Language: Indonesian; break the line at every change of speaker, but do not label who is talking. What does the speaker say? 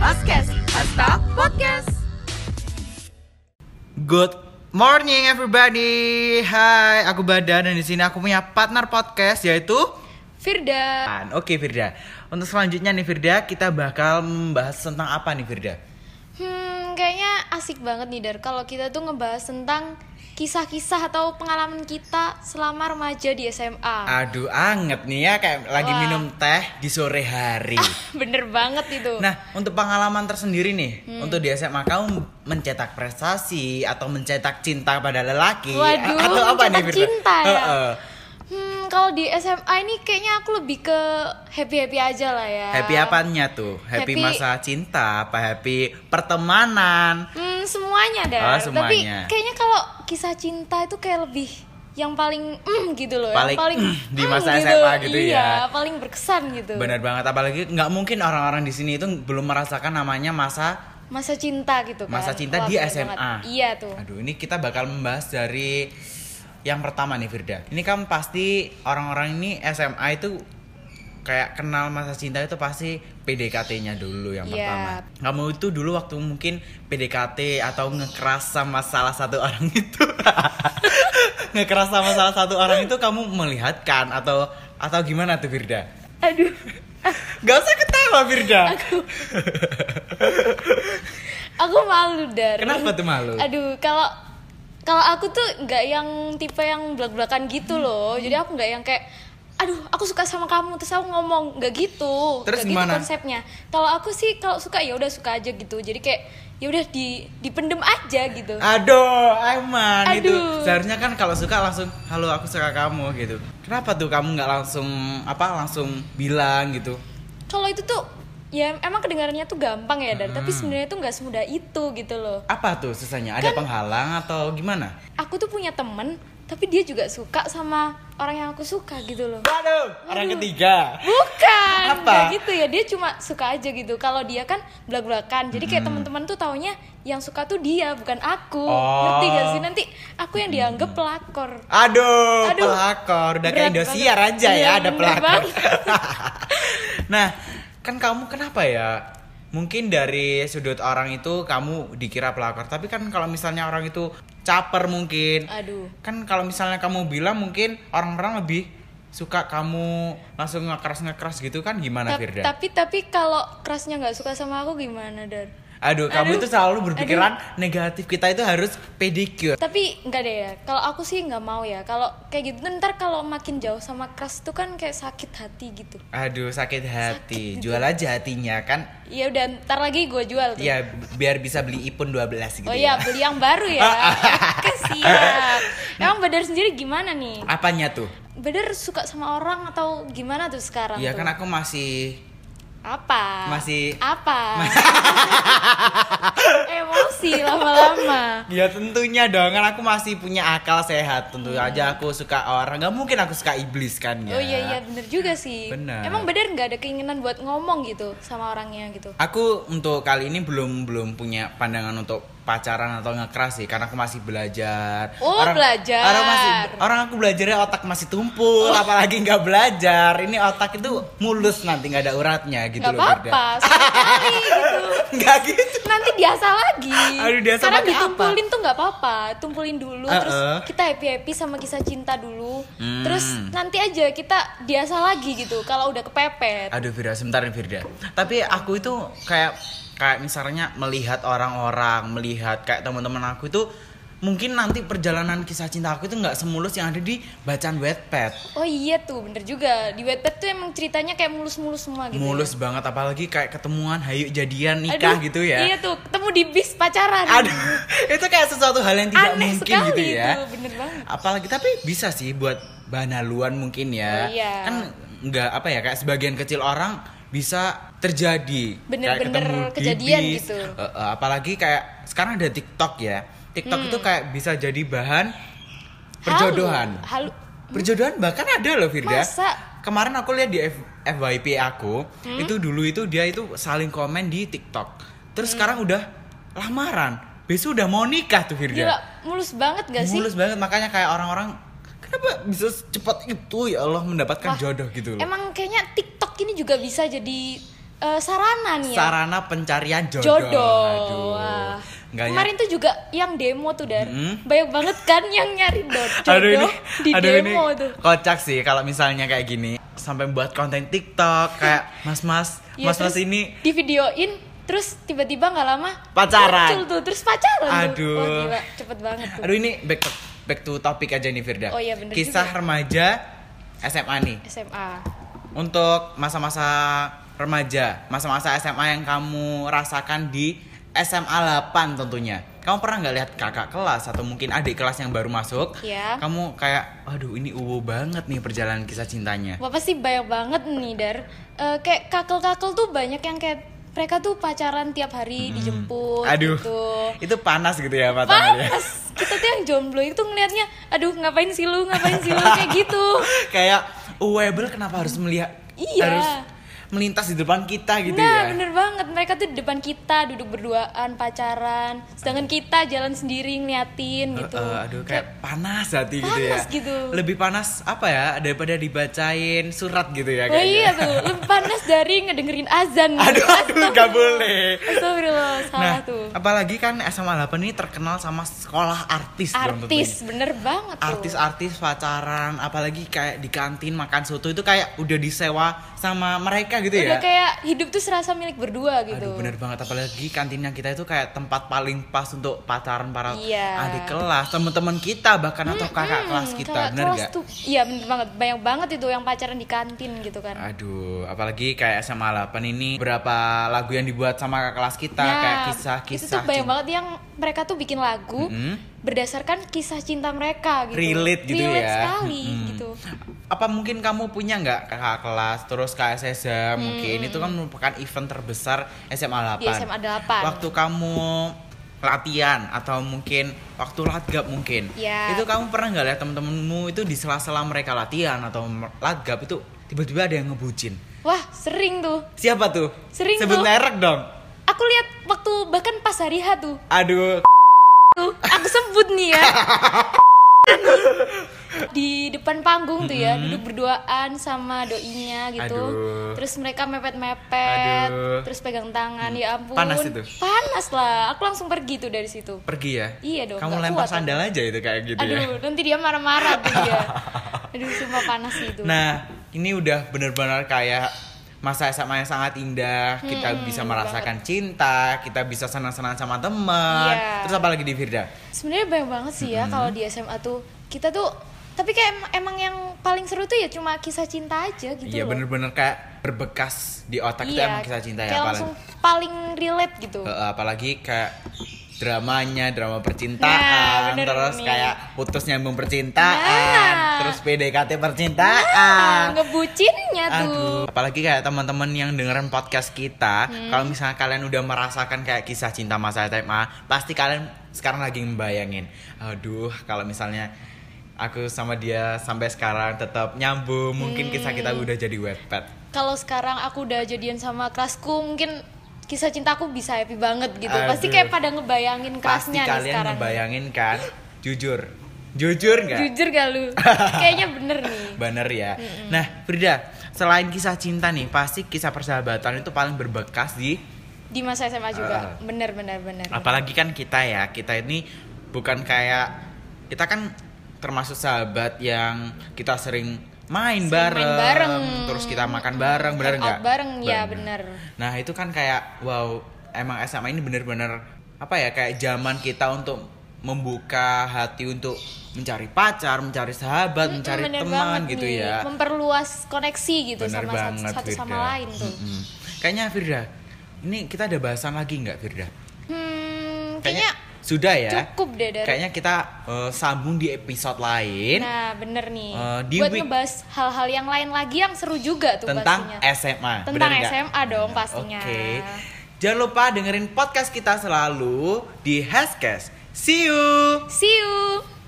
Podcast, Hasta Podcast.
Good morning everybody. Hai, aku Badan dan di sini aku punya partner podcast yaitu
Firda,
An. Oke, Firda. Untuk selanjutnya nih Firda, kita bakal membahas tentang apa nih Firda?
hmm, kayaknya asik banget nih Dar kalau kita tuh ngebahas tentang kisah-kisah atau pengalaman kita selama remaja di SMA.
Aduh, anget nih ya kayak lagi
Wah.
minum teh di sore hari.
Bener banget itu.
Nah, untuk pengalaman tersendiri nih,
Hmm.
untuk di SMA kamu mencetak prestasi atau mencetak cinta pada lelaki
Waduh,
a- atau apa nih
mencetak
Firda?
cinta ya?
Heeh.
Hmm, kalau di SMA ini kayaknya aku lebih ke happy-happy aja lah ya.
Happy apanya tuh? Happy,
Happy-
masa cinta apa happy pertemanan?
Hmm, semuanya Dar.
Ah,
Tapi
semuanya.
kayaknya kalau kisah cinta itu kayak lebih yang paling mm gitu loh,
Paling,
yang paling
"Mm" di
"Mm"
masa SMA gitu ya.
iya, paling berkesan gitu.
Benar banget apalagi nggak mungkin orang-orang di sini itu belum merasakan namanya masa
Masa cinta gitu kan.
masa cinta
Wah,
di
bener
SMA.
banget. Iya tuh.
Aduh, ini kita bakal membahas dari yang pertama nih Firda. Ini kan pasti orang-orang ini SMA itu kayak kenal masa cinta itu pasti PDKT-nya dulu yang
Iya.
pertama. Kamu itu dulu waktu mungkin PDKT atau ngekeras sama salah satu orang itu. ngekeras sama salah satu orang itu kamu melihatkan atau atau gimana tuh Firda?
Aduh,
Gak usah ketawa Firda.
aku malu Dar.
Kenapa tuh malu?
Aduh, kalau kalau aku tuh nggak yang tipe yang belak-belakan gitu loh.
Hmm.
Jadi aku nggak yang kayak aduh, aku suka sama kamu terus aku ngomong nggak gitu.
Terus
nggak
gimana?
gitu konsepnya. Kalau aku sih kalau suka ya udah suka aja gitu. Jadi kayak ya udah di dipendem aja gitu.
Ah. Aduh, Aiman itu
Aduh.
seharusnya kan kalau suka langsung halo aku suka kamu gitu. Kenapa tuh kamu nggak langsung apa langsung bilang gitu?
Kalau itu tuh ya emang kedengarannya tuh gampang ya, Dar,
Hmm.
tapi sebenarnya tuh nggak semudah itu gitu loh.
Apa tuh susahnya? Ada
Kan
penghalang atau gimana?
Aku tuh punya temen, tapi dia juga suka sama orang yang aku suka gitu loh.
Waduh, orang ketiga.
Bukan.
Apa?
nggak gitu ya. Dia cuma suka aja gitu. Kalau dia kan belak-belakan. Jadi kayak
Hmm.
teman-teman tuh taunya yang suka tuh dia, bukan aku.
Oh. Hmm.
Ngerti gak sih? Nanti aku yang dianggap pelakor.
Aduh,
Aduh,
pelakor. Udah kayak
berat
Indosiar
banget.
aja
Iya,
ya ada
bener
pelakor.
banget.
nah, kan kamu kenapa ya? Mungkin dari sudut orang itu kamu dikira pelakor, tapi kan kalau misalnya orang itu caper mungkin
Aduh.
kan kalau misalnya kamu bilang mungkin orang-orang lebih suka kamu langsung ngekeras ngekeras gitu kan gimana
Ta-
Firda?
tapi tapi kalau kerasnya nggak suka sama aku gimana, Dar?
Aduh, kamu
Aduh.
itu selalu berpikiran negatif kita itu harus pedicure.
Tapi nggak deh ya. Kalau aku sih nggak mau ya. Kalau kayak gitu tuh ntar kalau makin jauh sama keras tuh kan kayak sakit hati gitu.
Aduh sakit hati, jual aja hatinya kan,
Ya udah ntar lagi gue jual tuh.
ya bi- biar bisa beli ipun 12 gitu.
Oh
ya.
iya, beli yang baru ya. Oke, siap. Emang Badar sendiri gimana nih?
Apanya tuh?
Badar suka sama orang atau gimana tuh sekarang?
Ya
tuh?
kan aku masih
Apa?
Masih-
Apa? Emosi lama-lama.
Ya tentunya dong kan aku masih punya akal sehat tentu aja aku suka orang nggak mungkin aku suka iblis kan ya.
Hmm. Oh iya iya bener juga sih.
Bener.
Emang Badar nggak ada keinginan buat ngomong gitu sama orangnya gitu.
Aku untuk kali ini belum belum punya pandangan untuk pacaran atau ngekeras sih karena aku masih belajar.
Oh, belajar. Oh.
Orang masih orang aku belajarnya otak masih tumpul apalagi nggak belajar. Ini otak itu mulus nanti nggak ada uratnya gitu
nggak
loh. Firda.
apa-apa, sekali gitu.
Nggak gitu.
Nanti biasa lagi.
Aduh, diasah
Karena
pakai apa?
ditumpulin tuh nggak apa-apa. Tumpulin dulu terus
Uh-uh.
kita happy-happy sama kisah cinta dulu.
Hmm.
Terus nanti aja kita biasa lagi gitu kalau udah kepepet.
Aduh Firda, sebentar nih Firda. Tapi aku itu kayak kayak misalnya melihat orang-orang, melihat kayak teman-teman aku itu mungkin nanti perjalanan kisah cinta aku itu nggak semulus yang ada di bacaan Wattpad.
Oh iya tuh, bener juga. Di Wattpad tuh emang ceritanya kayak mulus-mulus semua gitu.
Mulus
ya.
banget apalagi kayak ketemuan, hayu jadian, nikah
Aduh,
gitu ya.
Iya tuh, ketemu di bis pacaran.
Aduh, itu kayak sesuatu hal yang tidak
Aneh
mungkin
sekali
gitu ya.
itu, bener banget.
Apalagi tapi bisa sih buat bahan haluan mungkin ya.
Iya.
Kan nggak apa ya kayak sebagian kecil orang bisa terjadi Kayak
Bener-bener
ketemu di
kejadian
bis.
gitu.
Eh, eh, apalagi kayak sekarang ada TikTok ya. TikTok itu kayak bisa jadi bahan perjodohan.
Halu. halu-
Perjodohan bahkan ada loh Firda.
Masa? Hmm?
Kemarin aku lihat di F- FYP aku, itu dulu itu dia itu saling komen di TikTok.
Hmm.
Terus sekarang udah lamaran. Besok udah mau nikah tuh
Gila,
Firda.
mulus banget gak sih?
Mulus banget makanya kayak orang-orang kenapa bisa cepat itu ya Allah mendapatkan
Wah,
jodoh gitu loh.
Emang kayaknya TikTok ini juga bisa jadi eh, sarana nih ya.
sarana pencarian jodoh.
jodoh.
Aduh.
Wah.
Nggak nyat-
Kemarin tuh juga yang demo tuh Dar.
Mm-mm.
Banyak banget kan yang nyari do- jodoh
aduh ini,
di
aduh ini
demo tuh.
kocak sih kalau misalnya kayak gini sampai buat konten TikTok kayak mas-mas,
Iya,
mas-mas
terus
ini
di videoin terus tiba-tiba nggak lama
Pacaran.
muncul tuh terus pacaran
Aduh.
tuh. Wah, gila, cepet banget tuh.
Aduh ini back to, back to topik aja nih Firda.
Oh iya, bener
Kisah
juga.
remaja SMA nih.
SMA.
Untuk masa-masa remaja, masa-masa SMA yang kamu rasakan di SMA 8 tentunya. Kamu pernah nggak lihat kakak kelas atau mungkin adik kelas yang baru masuk?
Iya.
Kamu kayak, aduh ini uwo banget nih perjalanan kisah cintanya.
Bapak sih banyak banget nih Dar. Eh, kayak kakel-kakel tuh banyak yang kayak mereka tuh pacaran tiap hari dijemput
Hmm. aduh,
gitu.
itu panas gitu ya matanya.
Panas. Kita tuh yang jomblo itu ngelihatnya aduh ngapain sih lu, ngapain sih lu kayak gitu.
kayak Uwebel kenapa harus melihat?
Iya.
Harus melintas di depan kita gitu
nah,
ya.
bener banget. Mereka tuh di depan kita duduk berduaan pacaran, sedangkan kita jalan sendiri ngeliatin gitu.
Eh, eh, aduh kayak panas hati gitu ya.
Panas gitu.
Lebih panas apa ya daripada dibacain surat gitu ya
Oh
kayaknya.
iya tuh, lebih panas dari ngedengerin azan.
Aduh aduh
Astagfirullah.
nggak boleh.
Astagfirullah, salah
Nah,
tuh.
apalagi kan SMA 8 ini terkenal sama sekolah artis dong tentunya.
Artis, bener banget tuh.
Artis-artis pacaran, apalagi kayak di kantin makan soto itu kayak udah disewa sama mereka gitu ya.
Udah kayak hidup tuh serasa milik berdua gitu.
Aduh bener banget apalagi kantinnya kita itu kayak tempat paling pas untuk pacaran para
Iya.
adik kelas teman-teman kita bahkan atau kakak kelas kita
Kakak
bener
Hmm, kelas
nggak?
tuh, iya bener banget. Banyak banget itu yang pacaran di kantin gitu kan.
Aduh, apalagi kayak SMA 8 ini berapa lagu yang dibuat sama kakak kelas kita kayak
Nah, itu tuh
kisah-kisah
banyak
cinta. Hmm?
banget yang mereka tuh bikin lagu berdasarkan kisah cinta mereka gitu.
Relate gitu
Relate
ya.
sekali
Mm-mm.
gitu.
Apa mungkin kamu punya nggak kakak kelas terus KSSM mungkin itu kan merupakan event terbesar SMA 8.
Hmm. Di SMA 8.
Waktu kamu latihan atau mungkin waktu latgab mungkin.
Iya.
Itu kamu pernah nggak lihat temen-temenmu itu di sela-sela mereka latihan atau latgab itu tiba-tiba ada yang ngebucin.
Wah, sering tuh.
Siapa tuh?
Sering
Sebut
tuh.
merek dong.
Aku lihat waktu bahkan pas hari H tuh.
Aduh,
Tuh, aku sebut nih ya. di depan panggung tuh ya duduk berduaan sama doinya gitu
Hmm. Aduh.
terus mereka mepet-mepet
Aduh.
terus pegang tangan ya ampun
Panas itu.
panas lah aku langsung pergi tuh dari situ
pergi ya.
Iya dong,
Kamu
nggak
lempar
kuat aku.
sandal aja itu kayak gitu ya.
aduh nanti dia marah-marah tuh dia aduh sumpah panas itu
Nah, ini udah benar-benar kayak masa SMA yang sangat indah. Kita
Hmm,
bisa merasakan cinta, kita bisa senang-senang sama teman.
Iya.
Terus apa lagi di Firda?
sebenarnya banyak banget sih
Hmm.
ya kalau di SMA tuh kita tuh tapi kayak em- emang yang paling seru tuh ya cuma kisah cinta aja gitu
Iya,
loh. Iya,
benar-benar kayak berbekas di otak kita emang kisah cinta ya
kayak
apalagi.
langsung paling relate gitu
Heeh, apalagi kayak dramanya, drama
Nah,
percintaan,
bener
terus
nih.
kayak putus nyambung percintaan,
Nah.
terus PDKT
Ah,
percintaan.
ngebucinnya tuh
Aduh, apalagi kayak teman-teman yang dengerin podcast kita,
Hmm.
kalau misalnya kalian udah merasakan kayak kisah cinta masa SMA, pasti kalian sekarang lagi membayangin, aduh, kalau misalnya aku sama dia sampai sekarang tetap nyambung, mungkin kisah kita
Hmm.
udah jadi wetpad.
kalau sekarang aku udah jadian sama kelasku mungkin kisah cinta aku bisa happy banget gitu pasti
Aduh.
kayak pada
Pasti
ngebayangin kelasnya nih
kalian
sekarang
ngebayangin kan, jujur, jujur nggak?
jujur gak lu kayaknya bener nih
Bener ya.
Hmm.
Nah, Frida, selain kisah cinta nih, pasti kisah persahabatan itu paling berbekas di
di masa
Ah.
SMA juga bener bener bener
apalagi kan kita ya kita ini bukan kayak kita kan termasuk sahabat yang kita sering main,
Sering main
bareng,
bareng.
terus kita makan bareng bener
Hangout
nggak
bareng, ya, bener.
nah itu kan kayak wow emang SMA ini bener-bener apa ya kayak zaman kita untuk membuka hati untuk mencari pacar mencari sahabat mencari
Bener
teman
banget
gitu
nih,
ya
memperluas koneksi gitu
bener
sama satu,
banget
satu sama
Firda.
lain tuh
Mm-mm. kayaknya Firda ini kita ada bahasan lagi nggak Firda
hmm kayaknya
sudah ya
cukup deh dari
Kayaknya kita eh, sambung di episode lain
nah bener nih
Eh, di
buat
week-
ngebahas hal-hal yang lain lagi yang seru juga tuh
tentang
pastinya
SMA.
tentang
bener nggak?
SMA dong pastinya
Oke. Jangan lupa dengerin podcast kita selalu di Haskes. See you.
see you